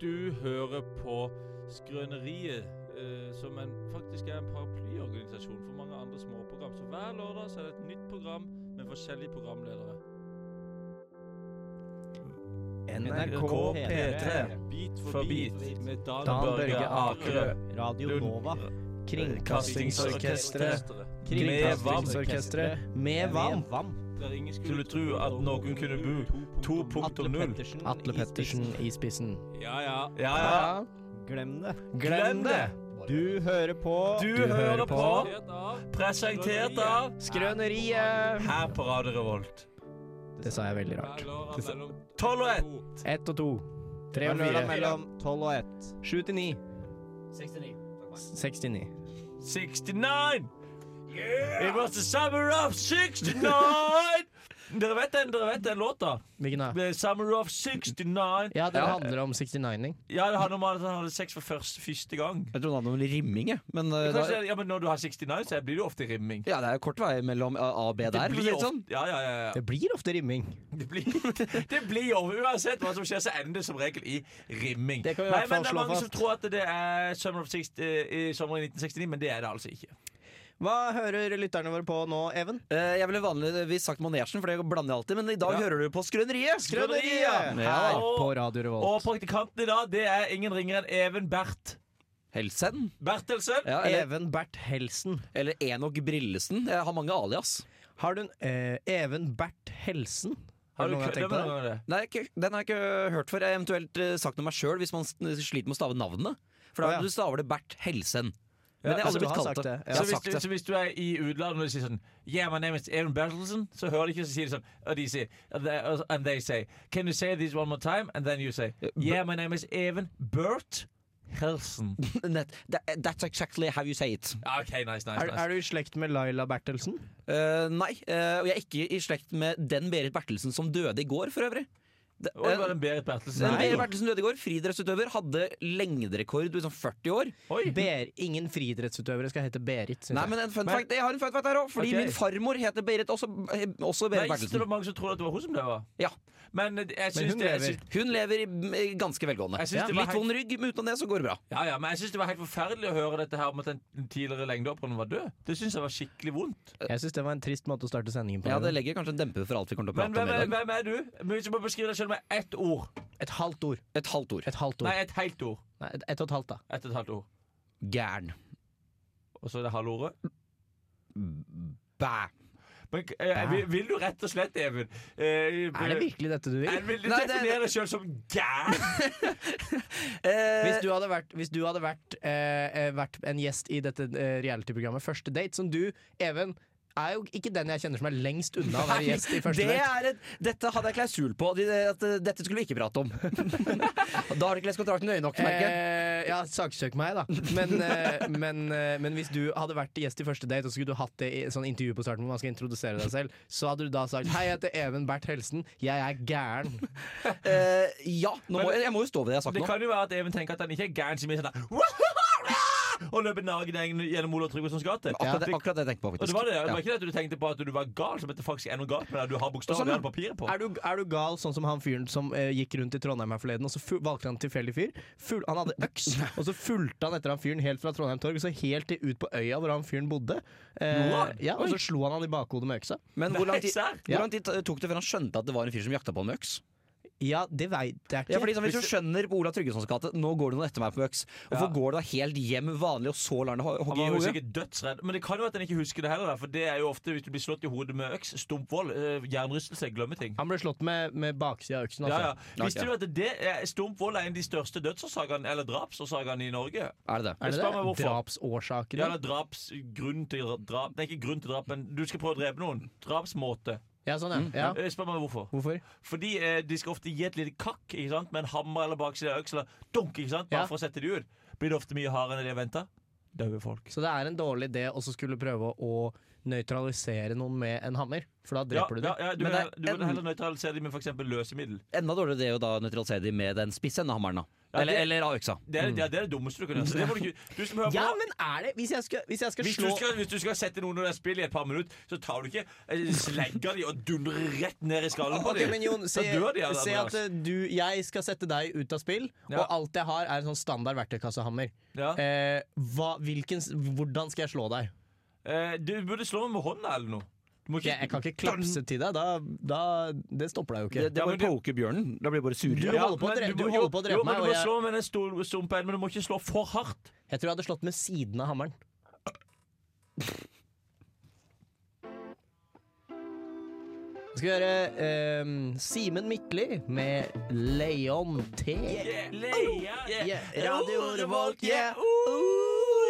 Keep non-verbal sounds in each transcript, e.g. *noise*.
Du hører på Skrøneriet, eh, som en, faktisk er en paraplyorganisasjon for mange andre småprogram. Så hver lørdag så er det et nytt program med forskjellige programledere. NRK P3. Bit for, For bit, bit. med Dan, Dan Børge Akerø. Lund- Radio Nova. Kringkastingsorkestret. Kringkastingsorkestret. Med vann. Der ingen Skulle tro at noen kunne bo 2.0. Atle- Atle Pettersen i spissen. Ja, ja. Ja, ja. Glem det. Glem det! Du hører på Du, hører på, Helt av. presentert av Skrøneriet. her på Radio Revolt. Det sa jeg veldig Hver rart. lørdag Det- mellom 12 og 1. to. Ett og to. Tre og fire. mellom 12 og 1. Sju til ni. 69. 69. 69! It was the summer of 69! Dere vet den, dere vet den låta? Hvilken da? The summer of 69. Ja, det handler om 69-ing. Ja, det handler om at han hadde sex for første, første gang. Jeg trodde han hadde noe rimming, jeg. Men eh, da, Kanskje, ja, men når du har 69, så blir det jo ofte rimming. ja, det er kort vei mellom eh, A og B der. for å si blir det ofte, sånn. ja, ja, ja, ja. Det blir ofte rimming. Det blir, det blir *laughs* jo Uansett hva som skjer, så ender det som regel i rimming. Det kan vi i Nei, hvert fall men det er slå mange som fast. tror at det er Summer of 60, eh, i sommeren 1969, men det er det altså ikke. Hva hører lytterne våre på nå, Even? Eh, Jeg ville vanligvis sagt Manesjen, for det blander jeg alltid. Men i dag Ja. hører du på Skrøneriet! Skrøneriet! Her Ja. på Radio Og Revolt. praktikanten i dag, det er ingen ringere enn Even Bert Helsen. Bertelsen. Ja, eller, Even Bert Helsen. eller Enok Brillesen. Jeg har mange alias. Har du en eh, Even Bert Helsen? Har du noen gang kødda tenkt med på noen gang det? Nei, ikke- den har jeg ikke hørt før. Jeg har eventuelt eh, sagt noe meg sjøl hvis man s- sliter med å stave navnet. For da Å, ja. du staver det Bert Helsen. Men jeg har altså, aldri du blitt har kalt sagt det. det. Ja. Jeg Så har hvis, sagt du, det. så hvis du er i utlandet og de sier sånn Yeah, my name is Even Bertelsen, så hører de ikke så sier de sånn Og de sier and they, and they say Can you say this one more time? And then you say Yeah, my name is Even Bert *laughs* Helsen. Nett- that- That's exactly how you say it. Ja, OK, nice, nice, nice. Er, er du i slekt med Laila Bertelsen? Eh, nei, eh, og jeg er ikke i slekt med den Berit Bertelsen som døde i går, for øvrig. Det, Og det var eh, den Berit Bertelsen. den Berit Bertelsen døde i går, friidrettsutøver, hadde lengderekord i sånn 40 år. Oi. *laughs* Ber, ingen friidrettsutøvere skal hete Berit, syns Nei, jeg. men en fun Men- fact, Jeg har en fun fact her òg, Ok. fordi min farmor heter Berit, også, eh, også Nei, det Berit var Bertelsen. mange som trodde at det var hun som døde. Ja, Men eh, jeg Men syns hun det, jeg lever. syns- Hun lever i- ganske velgående. Jeg synes Ja. det var Litt vond rygg, men utenom det så går det bra. ja, ja, men jeg syns det var helt forferdelig å høre dette her om at den tidligere lengdehopperen var død. Det syns jeg var skikkelig vondt. Jeg syns det var en trist måte å starte sendingen på. Ja, Det Even. legger kanskje en demper for alt vi kommer til å Men hvem prate om. i er, dag. hvem er du? Men Hvis du må beskrive deg selv med ett ord. Et halvt ord. Et halvt ord. Et halvt ord. Nei, Nei, et helt ord. et, et og et halvt, da. Ett og et halvt ord. Gæren. Og så er det halvordet. Bæ. Men eh, vil, vil du rett og slett, Even eh, Er det virkelig dette du vil? eh, Vil du Nei, det- definere deg sjøl som gæren? *laughs* Eh, Hvis du hadde vært, hvis du hadde vært, eh, eh, vært en gjest i dette eh, reality-programmet Første date, som du, Even, er jo ikke den jeg kjenner som er lengst unna å være gjest i Første det date. er et, dette hadde jeg klausul på. De- de- At eh, dette skulle vi ikke prate om. *laughs* da har du ikke lest kontrakten nøye nok. merker jeg. Eh, ja, saksøk meg, da. Men, eh, *laughs* men, eh, men hvis du hadde vært gjest i første date, og så skulle du hatt det i sånn intervju på starten hvor man skal introdusere deg selv, så hadde du da sagt 'Hei, jeg heter Even Bert Helsen. Jeg er gæren'. Eh, ja, nå må, jeg, jeg må jo stå ved det jeg har sagt Det nå. kan jo være at Even tenker at han ikke er gæren som er sånn der «Wah-ha-ha-ra!» Og løper nagen gjennom Olav Tryggvasons gate. Akkurat, det- akkurat det jeg tenkte på, Og det faktisk. var det, det Ja. var ikke det at du tenkte på at du var gal, som at det faktisk er noe galt med deg. Du har Og sånn, bokstaver ja. og papiret på. Er du, er du gal sånn som han fyren som eh, gikk rundt i Trondheim her forleden, og så fu- valgte han en tilfeldig fyr? Full, han hadde *laughs* øks, og så fulgte han etter han fyren helt fra Trondheim torg, og så helt til ut på øya hvor han fyren bodde. Eh, Nå, da? ja, og så slo han han i bakhodet med øksa. Men hvor lang, tid, Nei, serr? hvor lang tid tok det før han skjønte at det var en fyr som jakta på han med øks? Ja, det veit jeg ikke. Ja, fordi sånn, Hvis du skjønner på Olav Tryggessons gate Nå går det noen etter meg på øks, hvorfor går du da helt hjem vanlig, og så lar han det ho- Han hogge i var jo hodet? sikkert dødsredd. Men det kan jo at han ikke husker det heller. da, For det er jo ofte hvis du blir slått i hodet med øks, stumpvold, eh, jernrystelse, glemme ting. Han ble slått med, med baksida av øksen, Ja, altså. ja. Visste Ok. du at det er stumpvold er en av de største dødsårsakene, eller drapsårsakene, i Norge? Er det det? Er det Spør meg det? hvorfor. Drapsårsaker? Ja, eller draps, grunn til drap Det er ikke grunn til drap, men du skal prøve å drepe noen. Drapsmåte. Ja, sånn, ja. ja. Eh, Spør meg hvorfor. Hvorfor? Fordi eh, de skal ofte gi et lite kakk ikke sant? med en hammer eller bakside av øks eller dunk, ikke sant? bare Ja. for å sette de ut. Blir det ofte mye hardere enn det venta? Daue folk. Så det er en dårlig idé å så skulle prøve å nøytralisere noen med en hammer, for da Ja, dreper du ja, dem. ja, du vil Men det er heller- du vil en- heller nøytralisere de med f.eks. løsemiddel. Enda dårligere det å da nøytralisere de med den spisse enden av hammeren. da. Eller, det- eller av øksa. Det er det, er, Mm. det er det dummeste du kan gjøre. Så det må du ikke Du som hører på Ja, nå, men er det Hvis jeg skal, hvis jeg skal hvis, slå du skal, hvis du skal sette noen under spill i et par minutter, så tar du ikke eh, slegger de og dundrer rett ned i skallen på Ah, Ok, men Jon, se, Da dør de av det, se at Andreas. eh, du, jeg skal sette deg ut av spill, Ja. og alt jeg har, er en sånn standard verktøykassehammer. Ja. Eh, hva, hvilken, s- hvordan skal jeg slå deg? Eh, du burde slå meg med hånda eller noe. Du må Jeg, jeg kan ikke klapse til deg. Da, da, det stopper deg jo Det, ikke. det Ja, må men du- poke bjørnen. Da blir det bare Du Ja, surere. holder på å men drepe, du du må- holder på å jo, drepe men meg, Du og må jeg, slå med den store sumpen, men du må ikke slå for hardt. jeg tror jeg hadde slått med siden av hammeren. *laughs* Vi skal høre eh, Simen Midtly med Leon T. Yeah. Oh, Oh, Yeah. Radio Revolt, yeah. Oh,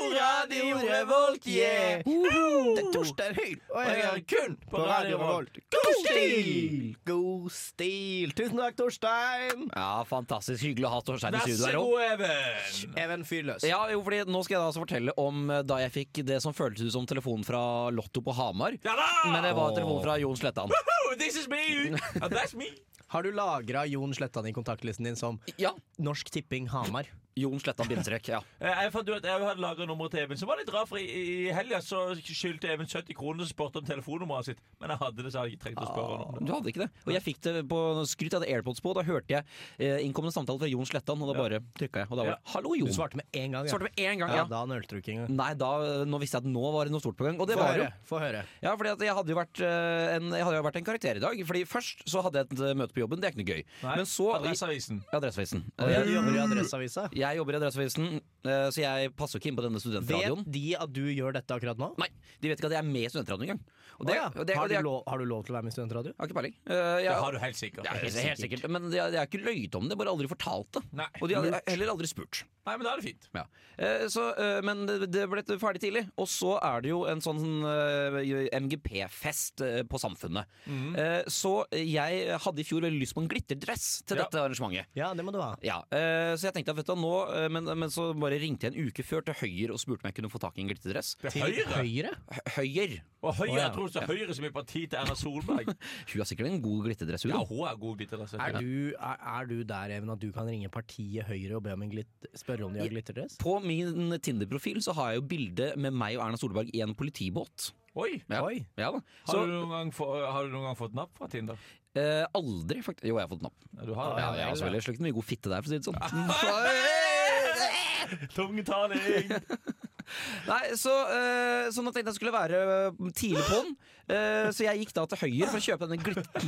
Uh, Radio Revolt, yeah. Det er torsdag høy, og Og jeg er kun på Radio Revolt. God stil! God stil! Tusen takk, Torstein! Ja, fantastisk hyggelig å ha Torstein i Vær studio så her òg. god, Even. Even fyr løs. Ja, jo, fordi nå skal jeg da altså fortelle om eh, da jeg fikk det som føltes ut som telefon fra Lotto på Hamar. Ja da! Men det var telefon fra Jon Slettan. Woohoo, This is *laughs* me! And that's me! Har du lagra Jon Slettan i kontaktlisten din som Ja, Norsk Tipping Hamar? Jon Slettan bindestrek. Ja. Eh, Jeg fant ut at jeg hadde lagra nummeret til Even. Så var det litt rart, for i, i helga så skyldte Even 70 kroner og spurte om telefonnummeret sitt. Men jeg hadde det, så jeg hadde ikke trengt å spørre han om Du det. hadde ikke det. Og jeg fikk det på skryt, jeg hadde AirPods på, og da hørte jeg eh, innkommende samtale fra Jon Slettan, og da bare trykka jeg. Og da var det 'hallo, Du Jon'. svarte med en gang. Mm. Svarte med en gang, ja, ja. da nølte du ikke engang. Nei, da, eh, nå visste jeg at nå var det noe stort på gang. Og det Få var det jo. høre. Få høre. Ja, fordi at jeg hadde jo vært eh, en, jeg hadde jo vært en karakter i dag. Fordi først så hadde jeg et eh, møte på jobben, det er ikke noe gøy. Nei, Men så Adresseavisen. I Adresseavisen. Ja, Eh, du jobber i Adresseavisa. Jeg jobber i Adresseavisen, eh, så jeg passer jo ikke inn på denne studentradioen. Vet de at du gjør dette akkurat nå? Nei, de vet ikke at jeg er med i studentradioen engang. Og Å ja. og det, og har, det, du er- lov, har du lov til å være med i studentradio? jeg har ikke peiling. Eh, jeg, Det har du helt sikkert. Ja, helt, helt sikkert. Men jeg har ikke løyet om det, bare aldri fortalt det. Nei. Og de hadde heller aldri spurt. Nei, men da er det fint. Ja. Eh, så, eh, men det det ble ferdig tidlig. Og så er det jo en sånn eh, MGP-fest eh, på Samfunnet. Eh, så jeg hadde i fjor veldig lyst på en glitterdress til Ja. dette arrangementet. Ja, det må du ha. Ja, eh, Så jeg tenkte at vet du, hva, nå eh, men, men så bare ringte jeg en uke før til Høyer og spurte om jeg kunne få tak i en glitterdress. Det er Til Høyre. Høyre? Hø- Høyer! Og Høyre, Å, ja. jeg tror det er Høyre som er parti til Erna Solberg. Hun har sikkert en god glitterdress, *laughs* hun. Ja, da. hun er god litt adresse. Er du, er, er du der, Even, at du kan ringe partiet Høyre og be om en glitt, spørre om de har glitterdress? På min Tinder-profil så har jeg jo bilde med meg og Erna Solberg i en politibåt. Oi! Ja. Oi. Ja da. Har, Så du noen gang få, har du noen gang fått napp fra Tinder? eh, aldri, faktisk. Jo, jeg har fått napp. Ja, du har Ja, det. jeg har selvfølgelig slukt mye god fitte der, for å si det *laughs* sånn. Hei! Tungetaling! Nei, så, eh, så nå tenkte jeg skulle være eh, tidlig på'n. Eh, så jeg gikk da til høyre for å kjøpe denne glitt... *laughs*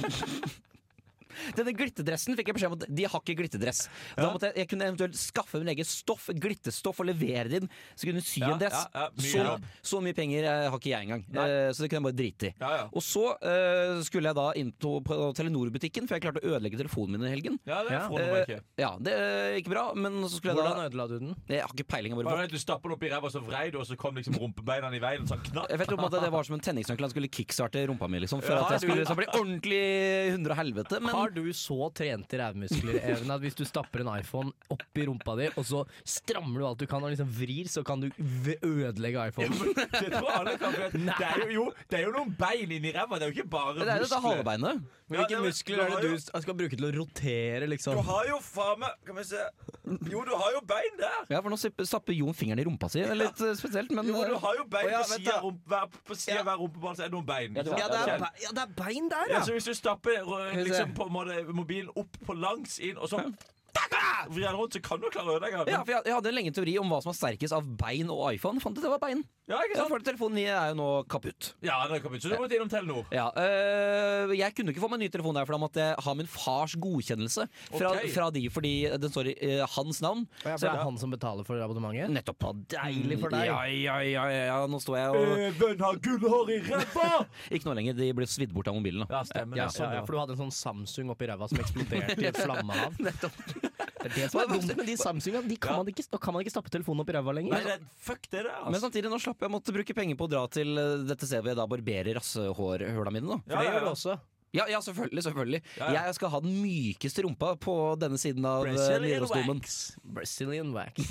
Denne glitterdressen fikk jeg beskjed om at de har ikke glitterdress. Da måtte jeg, jeg kunne eventuelt skaffe min egen stoff, glitterstoff og levere det inn. Så kunne jeg sy Ja, en dress. ja, ja, mye så, jobb. så mye penger eh, har ikke jeg engang. Nei. Eh, så det kunne jeg bare drite i. *laughs* Ja, ja. Og så eh, skulle jeg da inn på, på Telenor-butikken, for jeg klarte å ødelegge telefonen min i helgen. Ja, det Ja. forundrer meg Eh, ikke. ja, det er ikke bra, men så skulle jeg da Hvordan ødela du den? Jeg har ikke peiling. Jeg, Var bare, det at Du stapper den opp i ræva, så vrei du, og så kom liksom rumpebeina i veien. og Sånn knakk. jeg vet jo på en måte at det var som en tenningsnøkkel. Han skulle kickstarte rumpa mi, liksom. For Ja, at jeg du- skulle liksom, bli ordentlig i hundre og helvete. Har Men du så trente rævmuskler, Even, at hvis du stapper en iPhone opp i rumpa di, og så strammer du alt du kan og liksom vrir, så kan du v- ødelegge iPhonen? Det tror jeg alle kan for det er jo, jo, det er jo noen bein inni ræva, det er jo ikke bare det er jo dette muskler. halebeinet. Ja, det er- du har jo- skal bruke til å rotere, Du liksom? har jo faen meg Kan vi se Jo, du har jo bein der! Ja, for nå sipp- stapper Jon fingeren i rumpa si. Det er litt eh, spesielt, men Jo, du eh, har jo bein Å, ja, på vent sida da. av rump- hver- på siden av hver rumpeball, så er det noen bein. Ja, det var- Ja, det er, Kjenn. be- ja, det er bein der, Ja, ja! så hvis du stapper eh, vi se. liksom, på en måte, mobilen opp på langs inn, og så vrir den rundt, så kan du klare å ødelegge ja, den. for jeg, jeg hadde en lenge teori om hva som var sterkest av bein og iPhone. Fant ut det var bein. Ja, ikke Så sant? får du telefonen min er jo nå kaputt. Ja, det kom ut. Så du måtte innom Telenor. Ja, øh, jeg kunne ikke få meg ny telefon der, for da måtte jeg ha min fars godkjennelse fra, Ok. fra de, fordi den står i øh, hans navn. Ja, for det er han som betaler for abonnementet? Nettopp. deilig for deg. Ja, ja, ja, ja, ja. nå står jeg og Even har gullhår i ræva! Ikke nå lenger, de ble svidd bort av mobilen. Da. Ja, stemmer Ja, det. Sånn, ja, for du hadde en sånn Samsung oppi ræva som eksploderte i et *laughs* flammehav. Nettopp. Det er det som er dumt med de Samsungene. De kan Ja. man ikke, da kan man ikke stappe telefonen oppi ræva Nei, lenger. det, fuck det der, Men altså. samtidig, nå slapp jeg å måtte bruke penger på å dra til øh, dette stedet hvor jeg da barberer rassehårhøla mine. Da. For det Ja, ja, gjør ja. du også. Ja, ja, selvfølgelig. selvfølgelig Ja, ja. Jeg skal ha den mykeste rumpa på denne siden av øh, Brazilian Nidarosdomen. wax. Brazilian wax.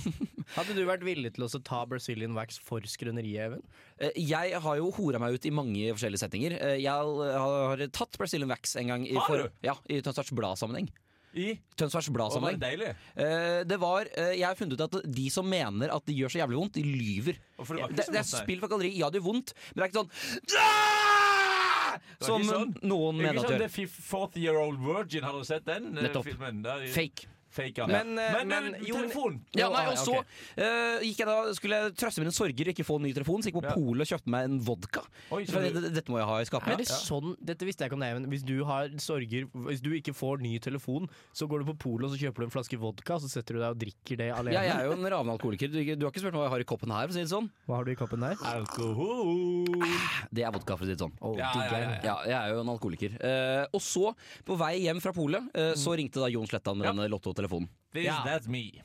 Hadde du vært villig til å ta Brazilian wax for skrøneriet, Even? Eh, Jeg har jo hora meg ut i mange forskjellige setninger. Eh, Jeg har- har tatt Brazilian Wax en gang. I Har for, du? Ja, I Tønsbergs Blad-sammenheng. I? Tønsbergs Og var det Bladsamling. deilig? Eh, det var, eh, jeg har funnet ut at de som mener at det gjør så jævlig vondt, de lyver. Og for det var ikke det, så det er vondt, nei. spill for galleri. Ja, det gjør vondt, men det er ikke sånn «Ah!» Det var Som ikke sånn. noen Det er mener ikke at det sånn gjør. The Fif- Fourth Year Old Virgin, har du sett den eh, Nettopp. filmen? Der, Fake. Fake, ja. Men, eh, men, men- eh, jo, men- telefon! Ja, Jo, nei, ah, og så ja, ok. eh, gikk jeg da, skulle jeg trøste mine sorger og ikke få en ny telefon, så gikk jeg på Ja. polet og kjøpte meg en vodka. Oi, så For du- det- dette må jeg ha i Er skapet. det sånn, dette visste jeg ikke om deg, men Hvis du har sorger Hvis du ikke får ny telefon, så går du på polet og så kjøper du en flaske vodka, så setter du deg og drikker det alene. Ja, jeg er jo en ravende alkoholiker. Du, du har ikke spurt meg hva jeg har i koppen her, for å si det sånn. Hva har du i koppen der? Alkohol! Det er vodka, for å si det sånn. Oh, Ja, ja, digger jeg. ja, Ja, jeg er jo en alkoholiker. Eh, og så, på vei hjem fra polet, eh, så ringte da Jon Slettan med Mm. Ja. denne Lotto-telefonen. This, Ja. That's me.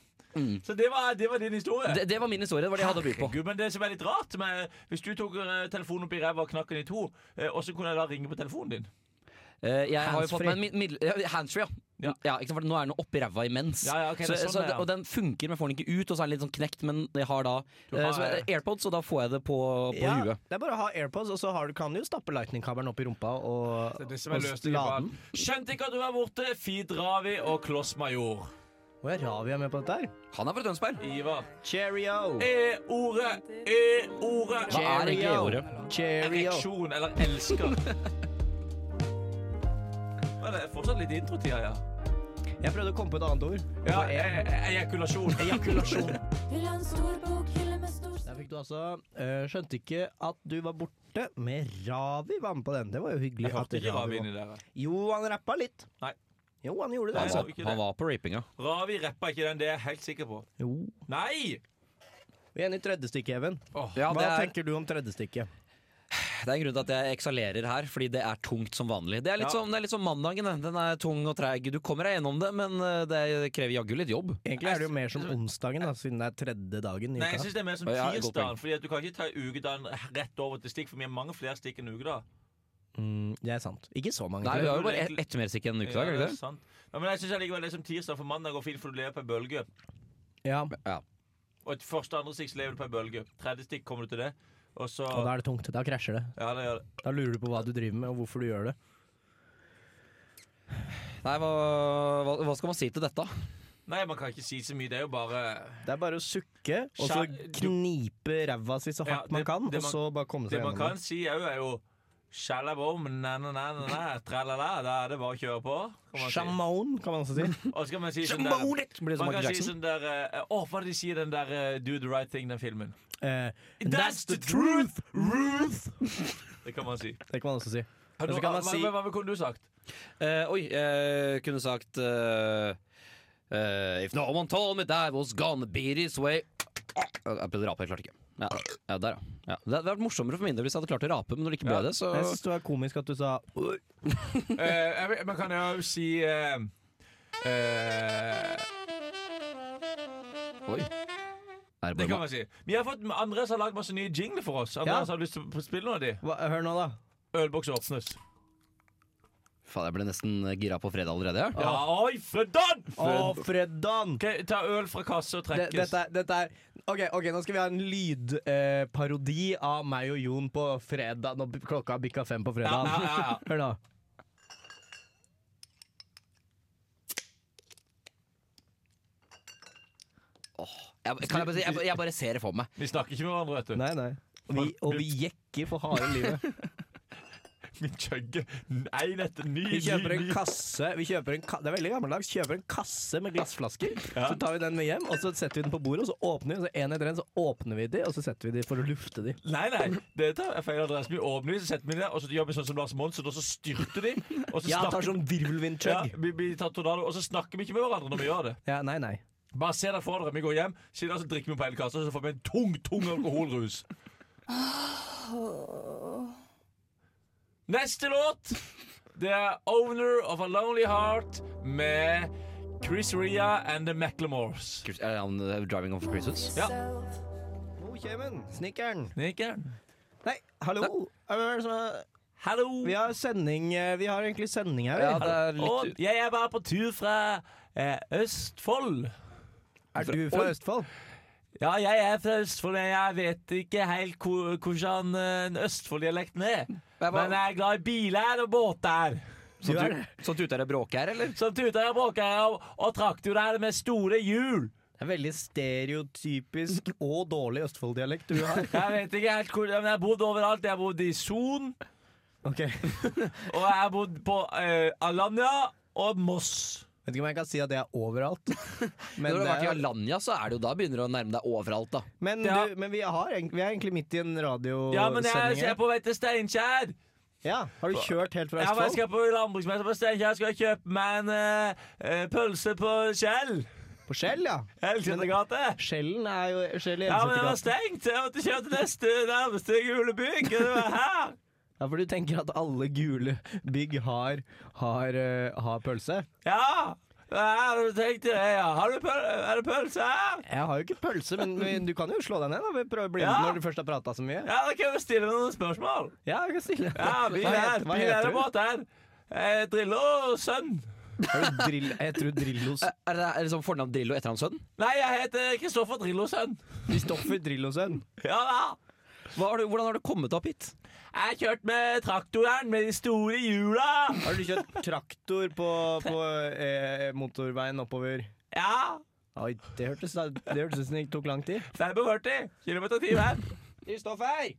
Så det var, det var din historie. Mm. Det, det var min historie. Det var det jeg hadde å by på. Herregud, men det som er litt rart med, Hvis du tok eh, telefonen opp i ræva og knakk den i to, eh, og så kunne jeg da ringe på telefonen din Eh, jeg har jo fått Handsfree. meg en mid- middel- ja, Handsfree, ja. Mm, Ja. ja. ikke sant, for nå er den opp i ræva imens. Ja, ja, ok, det så, er sånn så, det er, ja. Og den funker, men jeg får den ikke ut. Og så er den litt sånn knekt, men jeg har da eh, har- så, er det AirPods, og da får jeg det på, på Ja, huet. Det er bare å ha AirPods, og så har du, kan du jo stappe lightning-kabelen opp i rumpa og, og lade den. Skjønte ikke at du var borte. Fid Ravi og Kloss Major. Å, ja, Ravi er med på dette her. Han er fra Tønsberg. Ivar. Cheerio! E-ordet. E-ordet. Hva er egentlig Cheerio. ordet? Cheerio. Ereksjon eller elsker. Men det er fortsatt litt introtid her, ja. Jeg prøvde å komme på et annet ord. Det ja var E. e e ejakulasjon. Ejakulasjon. Hylla en stor bok, hylle med stor Der fikk du altså eh, Skjønte ikke at du var borte med Ravi var med på den. Det var jo hyggelig. Jeg hørte at ikke Ravi var- inni der. Jo, han rappa litt. Nei. Jo, han gjorde det. Han Altså. var, ikke det. han var på rapinga. Ravi rappa ikke den, det er jeg helt sikker på. Jo. Nei! Vi er inne i tredje stykket, Even. Åh, Ja, Hva det er, tenker du om tredje stykket? det er en grunn til at jeg eksalerer her, fordi det er tungt som vanlig. Det er litt, Ja. som, det er litt som mandagen. den. Den er tung og treig. Du kommer deg gjennom det, men eh, det krever jaggu litt jobb. Egentlig er det jo mer som onsdagen, da, siden det er tredje dagen i Nei, jeg uka. syns det er mer som Ja, ja, godt tirsdagen. poeng. Fordi at du kan ikke ta ukedagen rett over til stikk, for vi har mange flere stikk enn ukedag. Mm, det er sant. Ikke så mange. Nei, vi tror jeg. har jo bare ett- ett mer sikk enn ukedag, er det Ja, ikke det? sant. Ja, men jeg syns allikevel det er som tirsdag, for mandag går fint, for du lever på en bølge. ja, Ja. Og et første og andre stikk så lever du på en bølge. Tredje stikk kommer du til det. Og så og da er det tungt. Da krasjer det. Ja, det gjør det. Da lurer du på hva du driver med, og hvorfor du gjør det. Nei, hva, hva, hva skal man si til dette? Nei, man kan ikke si så mye. Det er jo bare Det er bare å sukke, og så Skjær- du- knipe ræva si så Ja, hardt man det- kan, det og man- så bare komme seg Det man gjennom. kan si òg, er jo Sjalabom, na-na-na-na, tralala. Da er det bare å kjøre på. Kan det. man si. Shamon, kan man også *laughs* si. Og så kan man si sånn der Blir det som Man Michael kan si sånn Jackson? der eh, Åh, hva er det de sier i den der eh, Do the right thing, den filmen? Eh, That's the truth, Ruth! Det kan man si. det kan man også si. Hva, Og så kan man si hva, hva, hva kunne du sagt? Eh, oi, jeg kunne sagt eh, eh, If no one told me that was gonna be this way Jeg prøvde å rape, jeg klarte ikke. Ja, ja der, ja. ja. Det hadde vært morsommere for min del hvis jeg hadde klart å rape, men når det ikke ble Ja. det, så Jeg syns det var komisk at du sa Eh, jeg vet- man kan jo si eh, eh, Oi. Er Det det kan bare meg? man si. Vi har fått, Andres har lagd masse nye jingler for oss. Andres Ja. Har du lyst til å spille noen av de? hva, Hør nå, da. Ølboks åpnes. Faen, jeg ble nesten gira på fredag allerede. Ja. Ja, oi, Freddan! Å, Freddan! Ok, ta øl fra kasse og Det, trekkes. dette, er- dette er OK, ok, nå skal vi ha en lydparodi eh, parodi av meg og Jon på fredag når b- klokka har bikka fem på fredag. Ja, ja, ja. Hør nå. Jeg, kan jeg, bare si, jeg, jeg bare ser det for meg. Vi snakker ikke med hverandre, vet du. Nei, nei. Vi, og vi jekker for harde livet. Vi chugger én etter ny, *laughs* Vi kjøper ny, en ny. kasse vi kjøper en ka Det er veldig gammeldags. Kjøper en kasse med glassflasker. Så tar vi den med hjem, og så setter vi den på bordet, og så åpner vi, og så en etter en så åpner vi de, og så setter vi de for å lufte de. Nei, nei, det tar jeg feil adresse. Vi åpner de, så setter vi de der, og så gjør vi sånn som Lars Monsen, og så styrter de. Og så Ja, tar snakker sånn ja, virvelvindchug. vi, vi tar tornado, og så snakker vi ikke med hverandre når vi gjør det. Ja, nei, nei. Bare se deg for dere, vi går hjem, sitter der, så drikker vi på hele kassa, og så får vi en tung, tung alkoholrus. Neste låt Det er 'Owner of a Lonely Heart' med Chris Ria and The Macklemores. Chris- eh, han, eh, Driving off Christmas. Ja. self. Mokjemen, snikkeren. Snickeren. Nei, hallo. Hvem er det som er- Hallo! Vi har sending eh, Vi har egentlig sending her. Ja, vi. det er Og litt jeg er bare på tur fra eh, Østfold. er du fra Oi. Østfold? Ja, jeg er fra Østfold, men jeg vet ikke helt hvor- hvordan eh, Østfold-dialekten er. var- Men jeg er glad i biler og båter. Sånn Du er at du, sånn at du ute er bråke her, eller? Som tuta og bråka og, og traktorer med store hjul. Det er veldig stereotypisk og dårlig Østfold-dialekt du *laughs* har. Jeg vet ikke helt hvor men Jeg har bodd overalt. Jeg har bodd i Son, Ok og jeg har bodd på eh, Alanya og Moss. Vet ikke om jeg kan si at det er *laughs* overalt. Men, Når du har vært i det er- Alanya, så er det jo da begynner du å nærme deg overalt, da. men, Ja. du, men vi, har, egent- vi er egentlig midt i en radiosending. Ja, men jeg, jeg er på vei til Steinkjer. Ja, Har du kjørt helt fra Ja, men jeg Østfold? skal på landbruksmesse på Steinkjer. Skal jeg kjøpe meg en eh, eh, pølse på Kjell. På Skjell, ja. Helsetegate. Skjellen er jo Skjell i Ja, men den var Enseftegata. stengt. Jeg måtte kjøre til neste nærmeste gule bygg. og Det var her. Ja, for du tenker at alle gule bygg har, har, eh, har pølse? Ja. Her, tenkte jeg, ja. Har du pøl er det pølse her? Jeg har jo ikke pølse, men, men du kan jo slå deg ned da, ved prøve å bli Ja. når du først har prata så mye. Ja, da kan vi stille noen spørsmål. Ja, jeg kan stille Ja, bil Hva her. heter- hva Bil her heter og du? båt her. Eh, Drillo sønn. Har du drill, jeg tror Drillos Er- Er det, er det sånn fornavn Drillo etter hans sønn? Nei, jeg heter Kristoffer Drillo sønn. *laughs* Kristoffer Drillo-sønn. Ja da. Hva har du, hvordan har du kommet opp hit? Jeg har kjørt med traktoren med de store hjula. Har du kjørt traktor på, på eh, motorveien oppover? Ja. Oi, det hørtes da- det hørtes ut som det tok lang tid. 45 km i timen. Kristoffer!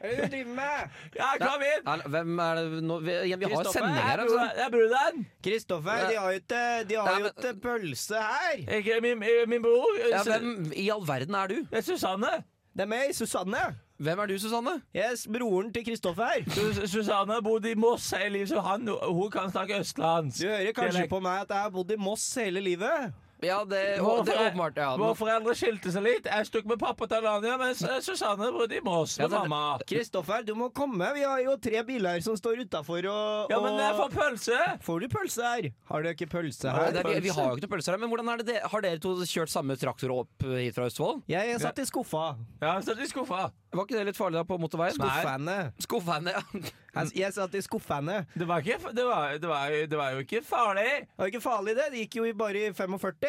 Hva er det du driver med? Ja, kom inn. Er, hvem er det nå? Vi, igjen, vi har jo Kristoffer, sending her, altså. Det er bruderen. Kristoffer, de har jo ikke, de har Nei, jo men- ikke pølse her! Ikke min, min bror. Ja, hvem i all verden er du? Det er Susanne. Det er meg, Susanne. Hvem er du, Susanne? Yes, broren til Kristoffer. Sus- Susanne har bodd i Moss hele livet, så han, hun kan snakke østlands. Du hører kanskje Dialekt. på meg at jeg har bodd i Moss hele livet. Ja, det, Våre å, det er foreldre- åpenbart. Ja, Våre foreldre skilte seg litt. Jeg stukk med pappa til Alanya, mens eh, Susanne bodde i Moss med Ja, det- mamma. Kristoffer, du må komme. Vi har jo tre biler som står utafor og, Ja, men jeg og får pølse. Får du pølse her? Har du ikke pølse Nei, her? det er, vi, vi har jo ikke noe pølser her, men hvordan er det, det har dere to kjørt samme traktor opp hit fra Østfold? Jeg er satt i skuffa. Ja, han satt i skuffa. Var ikke det litt farlig da på motorveien? Skuffene. Skuffene, ja. Jeg, jeg satt i skuffene. Det var, ikke, det, var, det, var, jo- det var jo ikke farlig. Det var ikke farlig, det. Det gikk jo i bare i *laughs* 45.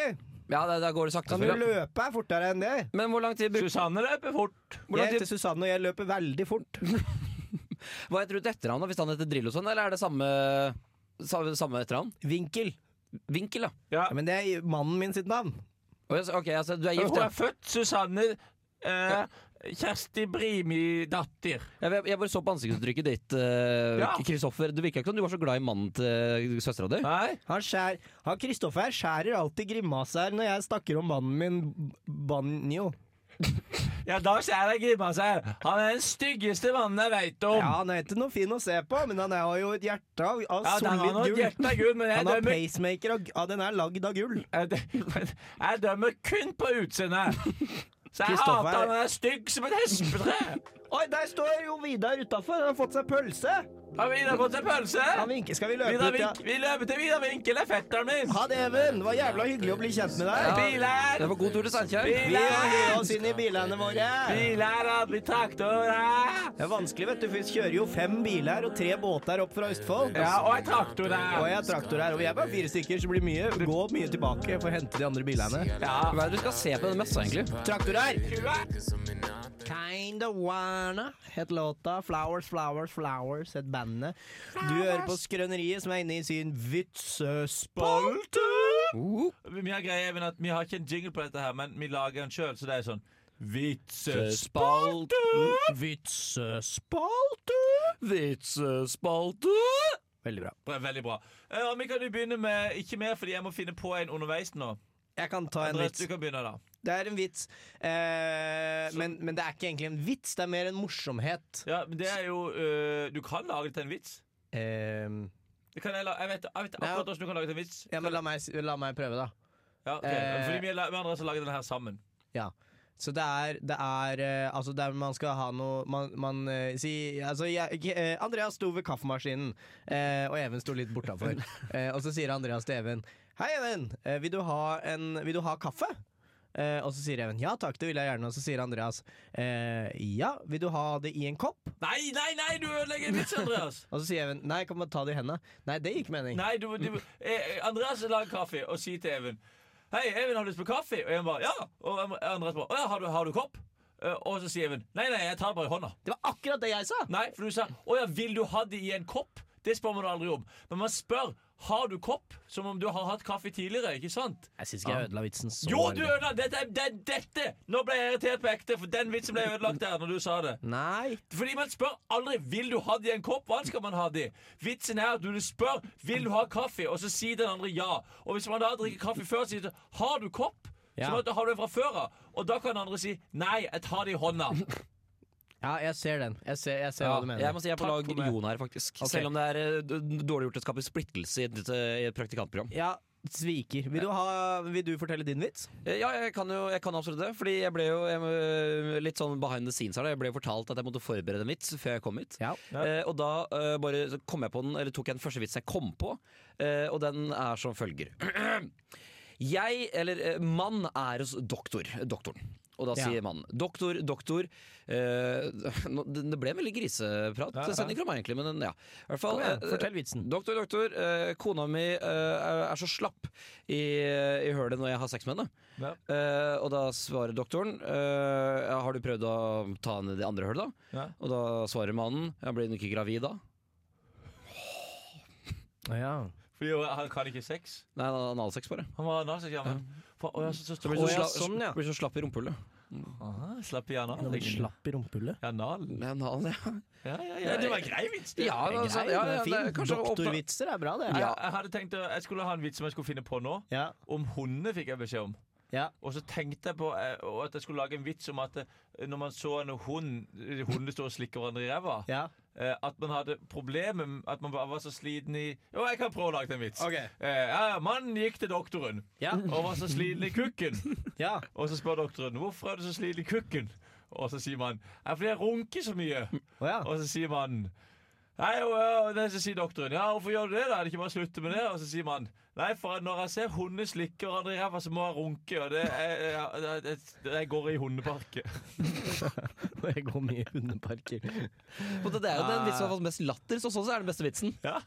Ja, da, da går det sakte. Kan du selvfølgelig. løpe her fortere enn det? Men hvor lang tid brukte Susanne løper fort. Hvordan Jeg heter Susanne, og jeg løper veldig *laughs* fort. Hva heter du til etternavn da, hvis han heter Drillo sånn, eller er det samme, samme, samme etternavn? Vinkel. Vinkel, ja. Ja. Ja, men det er mannen min sitt navn. Å, yes, Ok, altså, du er gift, Hun ja. er født Susanne eh, Kjersti Brimi-datter. Jeg, jeg bare så på ansiktsuttrykket ditt, eh, Ja. Kristoffer. Det virka ikke som du var så glad i mannen til eh, søstera di. Nei? Han, skjær, han Kristoffer skjærer alltid grimaser når jeg snakker om mannen min B- Banjo. Ja, da ser jeg grimaser. Han er den styggeste mannen jeg veit om. Ja, han er ikke noe fin å se på, men han har jo et hjerte av, av Ja, den har solid noe gull. hjerte av gull, men jeg Han har dømmer, pacemaker, og ja, den er lagd av gull. jeg dø- jeg dømmer kun på utseendet. Så jeg Kristoffer- hater han er stygg som et hespetre. Oi, der står jo Vidar utafor! Han har fått seg pølse! Har Vidar fått seg pølse? Han vinker. Skal vi løpe Vidar ut, ja? Vink, vi løper til Vidar Vinkel, er fetteren min. Ha det, Even! Det var jævla hyggelig å bli kjent med deg. Biler! Det var god tur til Steinkjer. Vi har hivet Biler! oss inn i bilene våre. Biler hadde vi traktor. eh. Det er vanskelig, vet du, for vi kjører jo fem biler og tre båter opp fra Østfold. Ja, og en traktor Og der. jeg har traktor her, og vi er bare fire stykker, så det blir mye. Gå mye tilbake for å hente de andre bilene. Ja. Hva er det du skal se på denne messa, egentlig? Traktor her! Kua. Kinda wanna het låta. Flowers, flowers, flowers het bandet. Du hører på Skrøneriet, som er inne i sin vitsespalte. Vi har greia Even, at vi har ikke en jingle på dette, her, men vi lager en sjøl, så det er sånn Vitses... Spalt, Vitsespalte. vitsespalte Veldig bra. Bra, Veldig bra. Eh, og vi kan jo begynne med Ikke mer, fordi jeg må finne på en underveis nå. Jeg kan ta en Andreas, vits. du kan begynne, da. Det er en vits, eh, men, men det er ikke egentlig en vits, det er mer en morsomhet. Ja, men det er jo øh, Du kan lage det til en vits. Eh, Det kan jeg, la jeg, vet, jeg vet akkurat hvordan du kan lage det til en vits. ja, men la meg, la meg prøve, da. Ja, ok. eh, Fordi vi, la- vi andre har laget den her sammen. Ja. Så det er, det er eh, Altså, der man skal ha noe Man, man eh, si Altså, jeg, eh, Andreas sto ved kaffemaskinen, eh, og Even sto litt bortafor. *laughs* Eh, og så sier Andreas til Even Hei, Even, eh, vil, du ha en, vil du ha kaffe? Eh, og så sier Even ja takk, det vil jeg gjerne. Og så sier Andreas eh, ja, vil du ha det i en kopp? Nei, nei, nei, du ødelegger en vits, Andreas! Og så sier Even nei, kan man ta det i hendene? Nei, det gir ikke mening. Nei, du, du, eh, Andreas lager kaffe og sier til Even Hei, Even, har du lyst på kaffe? Og Even bare ja. Og Andreas bare å ja, har du, har du kopp? Eh, og så sier Even nei, nei, jeg tar det bare i hånda. Det var akkurat det jeg sa! Nei, for du sa å ja, vil du ha det i en kopp? Det spør man aldri om. Men man spør har du kopp, som om du har hatt kaffe tidligere. ikke sant? Jeg syns ikke jeg ødela vitsen så Jo, veldig. du ødela dette, er- det, er dette! Nå ble jeg irritert på ekte, for den vitsen ble ødelagt der når du sa det. Nei. Fordi man spør aldri Vil du ha det i en kopp. Hva skal man ha det i? Vitsen er at du spør Vil du ha kaffe, og så sier den andre ja. Og hvis man da drikker kaffe før, sier du Har du kopp? Ja. Sånn at du har det fra før av. Og da kan den andre si Nei, jeg tar det i hånda. Ja, jeg ser den. Jeg ser, jeg ser Ja, hva du mener. jeg må si jeg er på Takk lag for meg. Jon her, faktisk. Selv om det er eh, d- dårlig gjort å skape splittelse i et, eh, i et praktikantprogram. Ja, sviker. Vil du, ha, vil du fortelle din vits? Eh, Ja, jeg kan jo jeg kan absolutt det. Fordi jeg ble jo eh, litt sånn behind the scenes her. da. Jeg ble jo fortalt at jeg måtte forberede en vits før jeg kom hit. Ja. Eh, og da eh, bare så kom jeg på den, eller tok jeg den første vitsen jeg kom på, eh, og den er som følger. *clears throat* Jeg, eller eh, mann, er hos doktor. Doktoren. Og da Ja. sier mannen doktor, doktor eh, *laughs* nå- Det det ble en veldig griseprat. Ja, ja. Sending fra meg, egentlig, men den- ja. I hvert fall, Kom igjen, eh, fortell vitsen. Doktor, doktor, eh, kona mi eh, er- er så slapp i, i hølet når jeg har sex med henne. Ja. Eh, og da svarer doktoren eh, ja, Har du prøvd å ta henne i det andre hølet, da? Ja. Og da svarer mannen Jeg blir hun ikke gravid da? Å ja. Fordi han kan ikke sex. Nei, han har analsex, bare. Han var analseksjamen. Så Så slapp blir hun Å, så, ja, sla sånn, ja. blir så slapp i rumpehullet. i anal. Slapp i rumpehullet. Anal. Nei, anal, ja. Ja, ja, ja. Det var en grei vits, det. Ja, Det altså, er grei, ja, det ja, er fin. det er kanskje å åpne- Doktorvitser er bra, det. Jeg, jeg hadde tenkt å- Jeg skulle ha en vits som jeg skulle finne på nå. Ja. Om hundene fikk jeg beskjed om. Ja. Og så tenkte jeg på eh, og at jeg skulle lage en vits om at eh, når man så en hund Hundene står og slikker hverandre i ræva. ja. eh, At man hadde problemer med at man bare var så sliten i Jo, jeg kan prøve å lage en vits. Ok. Eh, ja, mannen gikk til doktoren Ja. og var så sliten i kukken. ja. Og så spør doktoren hvorfor er du så sliten i kukken. Og så sier man ja, fordi jeg runker så mye. Å ja. Og så sier man Nei, og, og det, så sier doktoren Ja, hvorfor gjør du det da? Er det ikke bare å slutte med det? Og så sier man Nei, for når jeg ser hunder slikke hverandre i ræva, så må jeg runke. Og det er, jeg, jeg, jeg går i hundeparket. Jeg går mye i hundeparker. Og det er jo den vitsen som har fått mest latter, så sånn så er den beste vitsen. Ja.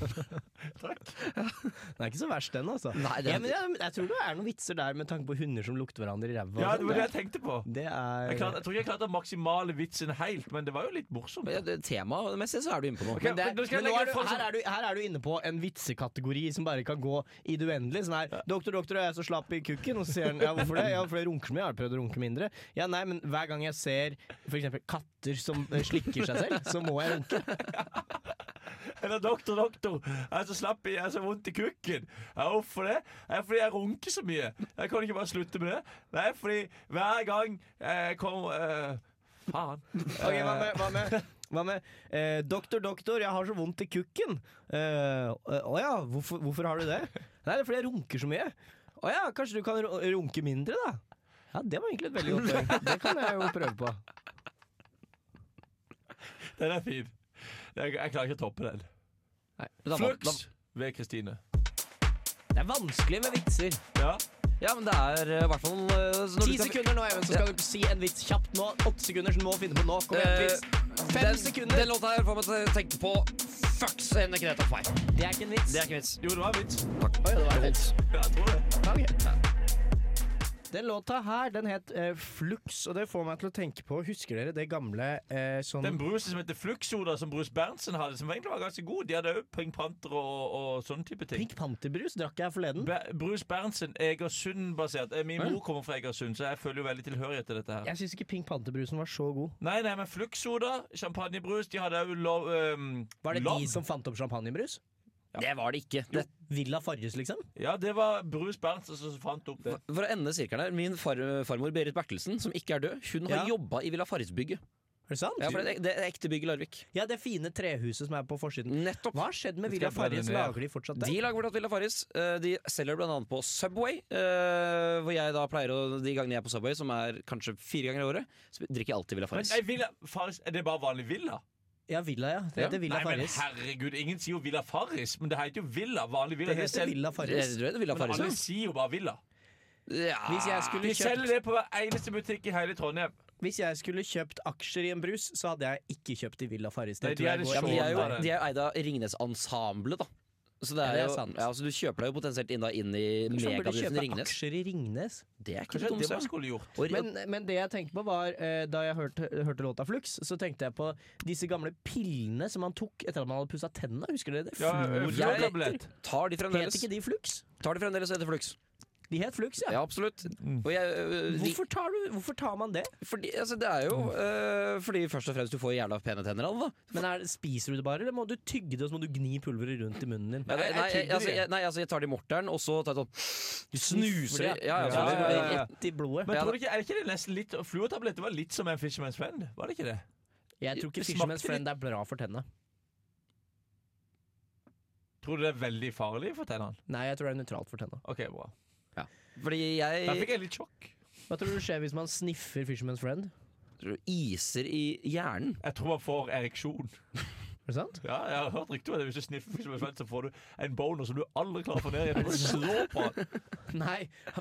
Takk. Den er ikke så verst, den, altså. Nei, det- ja, men jeg, jeg tror det er noen vitser der med tanke på hunder som lukter hverandre i ræva. Ja, det og sånn. var det jeg tenkte på. det er Jeg, klarte- jeg tror ikke jeg klarte den maksimale vitsen helt, men det var jo litt morsomt. Men, ja, det- Temamessig så er du inne på noe. Ok. Men, det, Men nå skal jeg men nå legge er du, det fram som- her, er du, her er du inne på en vitsekategori som bare kan gå i det uendelige. Sånn her, doktor, doktor, jeg er så slapp i kukken. Og så sier han ja, hvorfor det? Ja, fordi jeg runker så mye. Jeg har prøvd å runke mindre. Ja, nei, men hver gang jeg ser f.eks. katter som eh, slikker seg selv, så må jeg runke. *laughs* Eller doktor, doktor, jeg er så slapp i, jeg er så vondt i kukken. Ja, hvorfor det? Det er fordi jeg runker så mye. Jeg kan ikke bare slutte med det. Nei, fordi hver gang jeg kommer eh, Faen. *laughs* Ok, hva med, hva med, hva med eh, Doktor, doktor, jeg har så vondt i kukken. Eh, Å ja, hvorfor, hvorfor har du det? Nei, det er fordi jeg runker så mye. Å ja, kanskje du kan ru- runke mindre, da? Ja, det var egentlig et veldig godt poeng. Det kan jeg jo prøve *laughs* på. Den er fin. Jeg, jeg klarer ikke å toppe den. Nei, men da- da- Flux ved Kristine. Det er vanskelig med vitser. Ja. Ja, men det er eh, i hvert fall eh, så når du Ti skal- sekunder nå, Even, så skal du si en vits kjapt nå. Åtte sekunder, så du må finne på nå. Kom igjen, Eh, vits. Fem den, sekunder. Den låta her får meg til å tenke på Fucks en Greta Fey. Det er ikke en vits. Det er ikke vits. Jo, det var en vits. Oi, det var en vits. Ja, Jeg tror det. Ok. Den låta her, den het eh, Flux, og det får meg til å tenke på Husker dere det gamle eh, sånn Den brusen som heter Fluxoda, som Bruce Berntsen hadde, som egentlig var ganske god. De hadde òg Pink Panther og, og sånne type ting. Pink Panther-brus drakk jeg forleden. Be Bruce Berntsen, Egersund-basert. Eh, Min mor kommer fra Egersund, så jeg føler jo veldig tilhørighet til dette her. Jeg syns ikke Pink Panther-brusen var så god. Nei, nei, men Fluxoda, champagnebrus De hadde òg lov ehm, Var det lov. de som fant opp champagnebrus? Det var det ikke. Det, Villa Farris, liksom? Ja, det var Bruce Berntsen som fant opp det. for å ende sirkelen her, min far, farmor Berit Bertelsen, som ikke er død, hun har Ja. jobba i Villa Farris-bygget. Er det sant? Ja, for det, det er ekte bygg i Larvik. Ja, det fine trehuset som er på forsiden. Nettopp. Hva har skjedd med Det Villa skal jeg Farris? brenne ned. Lager de fortsatt det? De lager fortsatt Villa Farris. Eh, De selger bl.a. på Subway, eh, hvor jeg da pleier å De gangene jeg er på Subway, som er kanskje fire ganger i året, så drikker jeg alltid Villa Men Farris. nei, villa, Farris, Er det bare vanlig Villa? Ja, Villa, ja. Det Ja. heter Villa Nei, men Farris. herregud, ingen sier jo Villa Farris, men det heter jo Villa. Vanlig Villa. Det heter selv- Villa Jeg Farris. tror det er Eh, Villa Men Farris. alle ja. sier jo bare Villa. Ja. Hvis jeg De skulle selger kjøpt, det på hver eneste butikk i hele Trondheim. hvis jeg skulle kjøpt aksjer i en brus, så hadde jeg ikke kjøpt i Villa Farris. Nei, Det de tror er jeg det går Ja, men de er jo Skjån, da. de er eid av Ringnes-ensemblet, da. Så, det Ja, er det er jo, sant. ja, så du kjøper deg jo potensielt inn, da, inn i Kanskje han burde megabedriften kjøpe Ringnes. aksjer i Ringnes? Det er ikke Kanskje dumt. det man søren. skulle gjort. Og- Men, men det jeg tenkte på var eh, da jeg hørte, hørte låta Flux, så tenkte jeg på disse gamle pillene som han tok etter at man hadde pussa tenna. Husker dere det? Ja, Fluortabletter. eh, fluortablett. Tar de Het fremdeles, ikke de Flux? tar de fremdeles etter Flux? De het Flux, ja. Ja, absolutt. Og jeg, øh, de, Hvorfor, tar du, hvorfor tar man det? fordi, altså, det er jo øh, fordi først og fremst du får jævla pene tenner av det, da. Men er, Spiser du det bare, eller må du tygge det og så må du gni pulveret rundt i munnen din? Nei, jeg nei, jeg, tygger altså, det. jeg, nei, altså, jeg tar det i morteren, og så tar jeg sånn Du snuser det. Ja, ja, Ja, sånn, ja, ja, ja. Rett i blodet. Men Ja, tror du ikke, er ikke det nesten litt Fluortablett det var litt som en Fisherman's Friend? Var det ikke det? Jeg tror ikke Det smakte Fisherman's litt- Friend er bra for tenna. Tror du det er veldig farlig for tennene? Nei, jeg tror det er nøytralt for tenna. OK, bra. Eh, Fordi Der jeg fikk jeg litt sjokk. Hva tror du skjer hvis man sniffer Fisherman's Friend? tror jeg iser i hjernen. Jeg tror man får ereksjon. Er det sant? Ja, jeg har hørt rykter om det. Hvis du sniffer Fisherman's Friend, så får du en boner som du aldri klarer å få ned igjen. Du slå på. *laughs* Nei.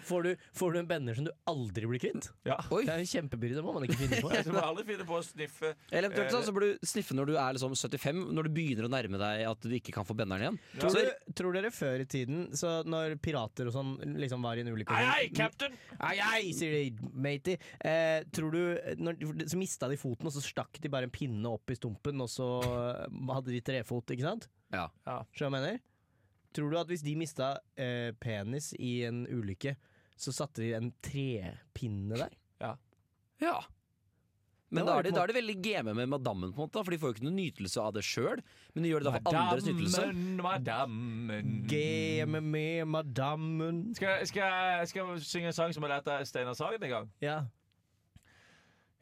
Får du, får du en bender som du aldri blir kvitt? *laughs* Ja. Oi. Det er en kjempebyrde, det må man ikke *laughs* finne på. Jeg skal aldri finne på å sniffe eh, Eller eventuelt sånn, så burde du sniffe når du er liksom 75, når du begynner å nærme deg at du ikke kan få benderen igjen. Tror, Så- du, tror dere før i tiden, så når pirater og sånn liksom var i en ulykke og Hei, sånn- hei, cap'n! Ai, ai, sier de, matey. Eh, tror du når, de- Så mista de foten, og så stakk de bare en pinne opp i stumpen, og så eh, hadde de trefot, ikke sant? Ja. Skjønner du hva jeg mener? Tror du at hvis de mista eh, penis i en ulykke, så satte de en trepinne der? ja. Men Det da var er, de, jo på en da er de veldig game med madammen, på en måte, da, for de får jo ikke noe nytelse av det sjøl. Men de gjør det da for andres nytelse. Madammen, Mhm. madammen. Game med madammen Skal, jeg- skal, jeg- skal jeg synge en sang som jeg lærte av Steinar Sagen en gang? Ja.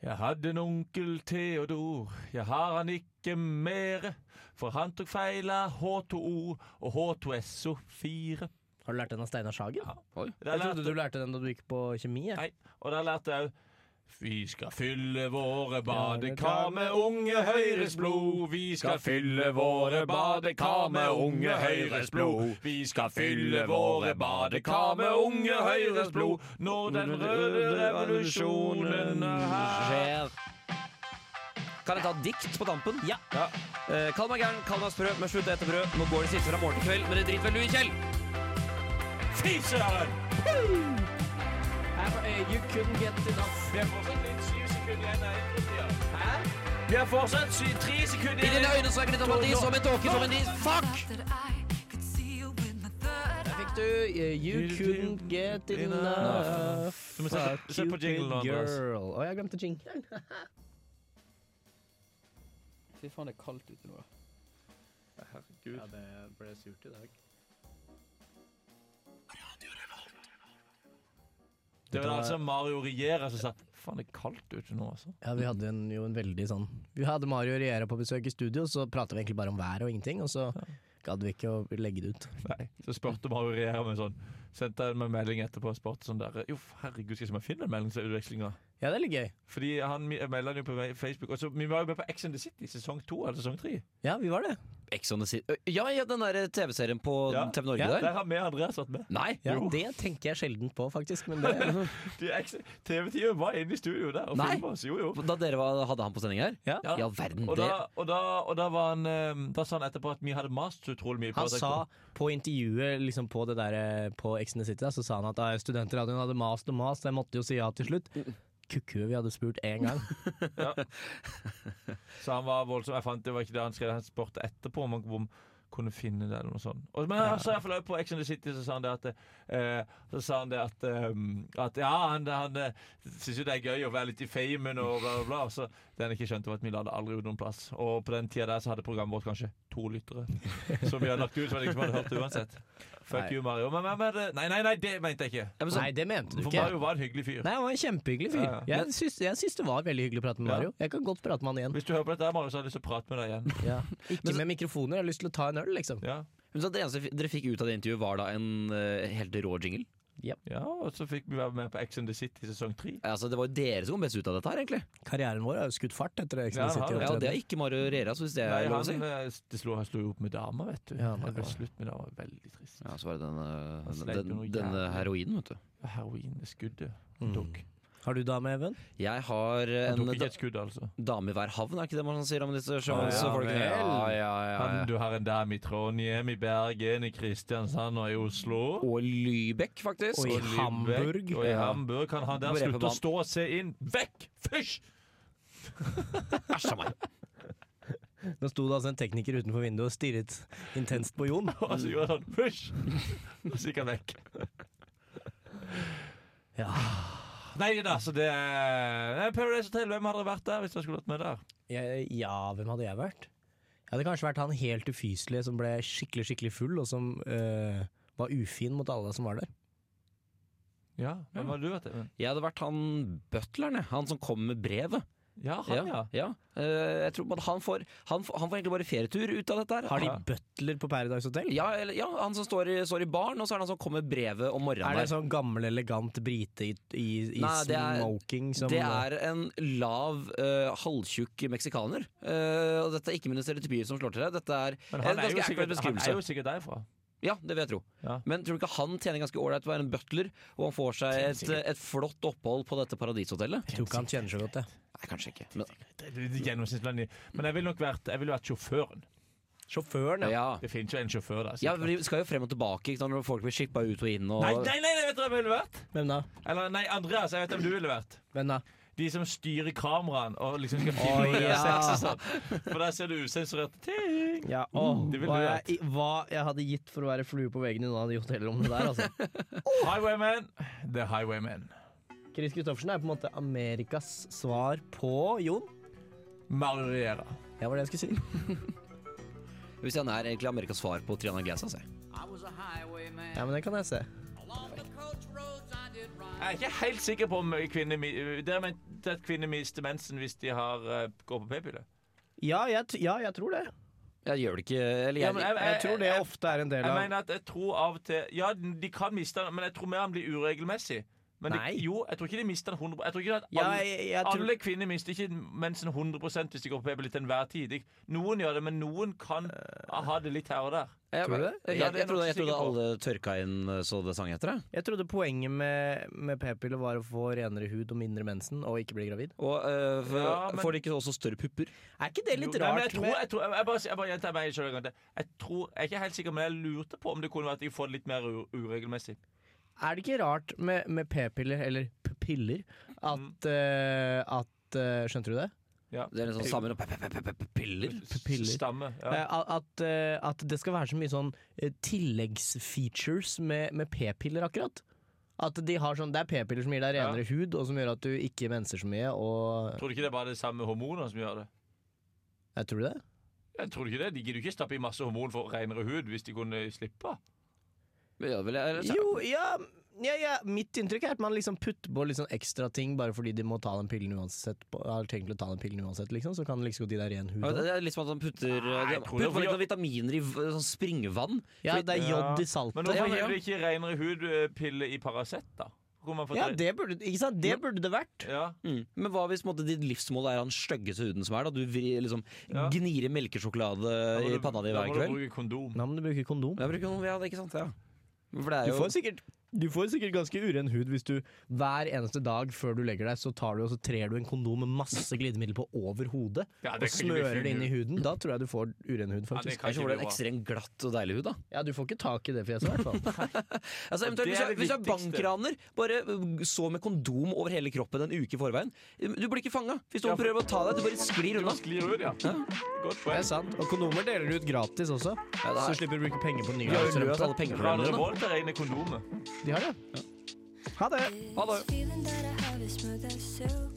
Jeg hadde en onkel Theodor, jeg har han ikke mere, for han tok feil av H2O og H2SO4. Har du lært den av Steinar Sagen? Ja. Oi. Der Jeg trodde lærte, du lærte den da du gikk på kjemi. jeg. Nei. og der lærte jeg òg vi skal fylle våre badekar med unge Høyres blod. Vi skal fylle våre badekar med unge Høyres blod. Vi skal fylle våre badekar med unge Høyres blod når den røde revolusjonen er her. skjer. Kan jeg ta dikt på tampen? Ja. Eh, kall meg gæren, kall meg sprø, men slutt å ete brød. Nå går det siste fra morgen til kveld, men det driter vel du i, Kjell? Fy søren! You couldn't get enough. Det er fortsatt litt syv sekunder igjen av innbruddet. Vi har fortsatt sy- tre sekunder I dine igjen. øyne så er glitter som en dis, som en tåke, som en dis. Fuck! Fikk du eh, You couldn't get enough. Du må se, se på jinglen, Andreas. girl. Å, jeg glemte jinglen. Fy faen, det er kaldt ute nå. Ja, det ble surt i dag. Det var altså Mario Riera som sa Faen, det er kaldt ute nå, altså. Ja, vi hadde en, jo en veldig sånn Vi hadde Mario Riera på besøk i studio, så pratet vi egentlig bare om været og ingenting, og så gadd vi ikke å legge det ut. *laughs* Nei. Så spurte Mario Riera meg sånn. Sendte han meg en melding etterpå og spurte sånn der Jo, herregud, skal jeg se om jeg finner den meldingutvekslinga? Ja, det er litt gøy. Fordi han melder den jo på vei- Facebook. Og så, vi var jo med på Ex on the City sesong to eller sesong tre. Ja, vi var det. Ex on the City. Ø, Ja, ja, den der eh, TV-serien på Ja. TV Norge Der der. har vi og Andreas vært med. Nei. Ja, Jo. Det tenker jeg sjelden på, faktisk. Men det, *laughs* De Ex- TV-teamet var inne i studio der og Nei. filma oss. Jo, jo. Da dere var, hadde han på sending her? Ja. I all verden. Og Det. da, og, da, og da var han eh, Da sa han etterpå at vi hadde mast så utrolig mye. på han at jeg sa kom. på intervjuet liksom på det der, eh, på Ex on the City, da, så sa han at ah, studentradioen hadde mast og mast, så jeg måtte jo si ja til slutt. Mm. Kukku, vi hadde spurt én *laughs* gang. Så han var voldsom. Jeg fant det var ikke det han skrev. Han spurte etterpå om han om kunne finne det eller noe sånt. Og, men han sa iallfall på Ex on the City så sa han det at eh, Så sa han det at, eh, at ja, han, han eh, syns jo det er gøy å være litt i famen og bla, bla, bla. Så det han ikke skjønte, var at vi la det aldri ut noen plass. Og på den tida der så hadde programmet vårt kanskje to *laughs* lyttere. Som vi hadde lagt ut, som ingen hadde hørt det uansett. Fuck Nei. you, Mario. Men, men, men, det- nei, nei, nei, det mente jeg ikke. Ja, men så- Nei, det mente du For ikke. Mario var en hyggelig fyr. Nei, han var en kjempehyggelig fyr. Ja, Jeg, syns, jeg syns det var veldig hyggelig å prate med Ja. Mario. Jeg kan godt prate med han igjen. *laughs* Hvis du hører på dette, her, Marius, så har jeg lyst til å prate med deg *laughs* igjen. Ikke med mikrofoner, jeg har lyst til å ta en øl, liksom. Ja, men så det eneste fi- dere fikk ut av det intervjuet, var da en eh, helt rå jingle? ja Og så fikk vi være med på Ex on the City sesong tre. Altså, det var jo dere som kom best ut av dette her, egentlig. Karrieren vår har jo skutt fart etter Ex Ja, han on the City. har Ja, og det opptreden. er ikke Mario Rera, så hvis det Nei, er lov å si. han eh, det slo, han slo jo opp med dama, vet du. Ja, det ble ja. slutt med dama. Veldig trist. Ja, så var det denne, Han den, sleipte den, noe denne jævlig. heroinen, vet du. Heroinskuddet Mm. tok. Har du dame, Even? Jeg har Han en tok ikke da et skudd, altså. dame i hver havn, er ikke det man sier om disse vel. sjømannsfolkene? ja, Han, du har en dame i Trondheim, i Bergen, i Kristiansand og i Oslo. Og Lybekk, faktisk. Og i Lübeck, Hamburg. Og i Ja. Hamburg kan han der Hvor er slutte å forbann- stå og se inn. Vekk! Fysj! *laughs* Æsj a meg. Nå sto det altså en tekniker utenfor vinduet og stirret intenst på Jon. Og så gjorde han fysj! *laughs* Og så gikk han vekk. Ja. Nei da, så det er Nei, Paradise Hotel, hvem hadde vært der hvis dere skulle vært med der? Jeg, ja, hvem hadde jeg vært? Jeg hadde kanskje vært han helt ufyselige som ble skikkelig skikkelig full, og som eh, var ufin mot alle som var der. Ja, hvem hadde du vært? Even? Jeg hadde vært han butleren, jeg. Han som kom med brevet. Ja, han, ja. ja. Eh, jeg tror man, han, får, han, får, han får egentlig bare ferietur ut av dette her. Har de Ja. butler på Paradise Hotel? Ja, eller, ja, han som står i, står i baren, og så er det han som kommer med brevet om morgenen. Er det der. en sånn gammel, elegant brite i, i, i Nei, det er- smoking som eh, øh, det er en lav, eh, halvtjukk meksikaner. Eh, og dette er ikke mine stereotypier som slår til deg. Dette er Men en han er, jo ganske ekkel sikkert, han beskrivelse. er jo sikkert derfra. Ja, det vil jeg tro. Ja. Men tror du ikke han tjener ganske ålreit å være en butler, og han får seg et, et flott opphold på dette paradishotellet? Jeg tror ikke han kjenner så godt, det. Nei, kanskje ikke. Men, Det er litt gjennomsnittslandet. Men jeg ville nok vært, jeg ville vært sjåføren. Sjåføren, ja. ja. Det finnes jo en sjåfør der. ja, sikkert. vi skal jo frem og tilbake ikke sant, når folk blir shippa ut og inn og Nei, nei, nei, nei, vet du hvem jeg ville vært? Hvem da? Eller nei, Andreas, jeg vet hvem du ville vært. Hvem da? De som styrer kameraen og liksom skal filme Å, oh, ja. ja. sex og sånn. For der ser du usensurerte ting. Ja, åh, mm, det ville hva, du jeg, i- hva jeg hadde gitt for å være flue på veggen i noen av de hotellrommene der, altså. Highwayman, the highwayman. Chris Kristoffersen er på en måte Amerikas svar på Jon. Mariera. Ja, var det jeg skulle si. Hvis han er egentlig Amerikas svar på Triana Glass, altså. Ja, men det kan jeg se. Jeg er ikke helt sikker på om kvinner mi- eh, Det er ment at kvinner mister mensen hvis de har eh, går på p-pille. Ja, jeg, t- ja, jeg tror det. Jeg gjør det ikke Eller jeg, Ja, men jeg- Jeg tror det jeg- ofte er en del Jeg av mener at jeg tror av og til Ja, de kan miste den, men jeg tror mer han blir uregelmessig. Men de, Nei. jo, jeg tror ikke de mister den 100 Jeg tror ikke at Ja, alle, jeg, jeg tror alle kvinner mister ikke mensen 100 hvis de går på p-pille til enhver tid. Ik- Noen gjør det, men noen kan ha det litt her og der. Jeg, Tror du Eh. det? jeg, jeg, Ja, det er jeg trodde, nok jeg trodde sikker på. alle tørka inn eh, så det sang etter det. Jeg trodde poenget med, med p-piller var å få renere hud og mindre mensen og ikke bli gravid. Og eh, for, Ja, men- får de ikke også større pupper? Er ikke det Jo, litt nei, men jeg rart? tror, med- jeg, tror, jeg, jeg bare, jeg bare gjentar meg selv en gang til. Jeg, tror, jeg er ikke helt sikker, men jeg lurte på om det kunne vært at jeg får det litt mer u uregelmessig. Er det ikke rart med, med p-piller, eller p-piller, at, Mm. eh, at eh, Skjønte du det? Det er en sånn sammen og piller. Piller. Stamme. Ja. Eh, at, eh, at det skal være så mye sånn eh, tilleggsfeatures med, med p-piller, akkurat. At de har sånn, Det er p-piller som gir deg Ja. renere hud, og som gjør at du ikke menser så mye. Og, Tror du ikke det er bare det samme hormonene som gjør det? jeg tror du det? Jeg tror ikke det. De gidder jo ikke stappe i masse hormon for renere hud hvis de kunne slippe. Ja, vel, jeg, eller- Jo, ja, ja, ja Mitt inntrykk er at man liksom putter på litt sånn ekstra ting bare fordi de må ta den pillen uansett. på- Har tenkt å ta den pillen uansett, liksom. Så kan det liksom godt gi deg ren hud. sånn- Ja, også. det er litt som at han putter Nei, jeg de- tror det Putter man var- ikke noen vitaminer i v- sånn springvann? Ja, det er jod i saltet. Men Ja, hvorfor men ja. gir du ikke renere hud-pille i Paracet, da? Hvor man får Ja, tre- det burde, ikke sant? det burde det vært. ja. Men hva hvis på en måte, ditt livsmål er den styggeste huden som er? Da? Du vri, liksom, Ja. gnir i melkesjokolade Da må i du- panna di da hver må du kveld? bruke kondom. Nei, men du bruker kondom. Jeg bruker noe, ja, det er ikke sant? Ja. For det er Du jo får sikkert, du får sikkert ganske uren hud hvis du hver eneste dag før du legger deg, så tar du og så trer du en kondom med masse glidemiddel på over hodet Ja, og det kan ikke bli smører fin det inn i hud. huden. Da tror jeg du får uren hud, Ja, det faktisk. kan ikke Kanskje får du bli en bra. ekstremt glatt og deilig hud, da. Ja, du får ikke tak i det fjeset, i hvert *laughs* fall. Altså, eventuelt, det hvis, er du, er- det hvis du er viktigste. bankraner, bare uh, så med kondom over hele kroppen en uke i forveien. Du blir ikke fanga. Hvis noen Ja, for- prøver å ta deg, du bare sklir unna. Du sklir ut, ja. Godt Det poeng. er sant. Og kondomer deler du ut gratis Ja, også, det er- så du slipper å bruke penger på nye. Vi har jo arrangementer. løst alle Fra pengeproblemene dine. revolt til rene kondomer. De har det. Ha det. Ha det. Feeling that I have is more than silver.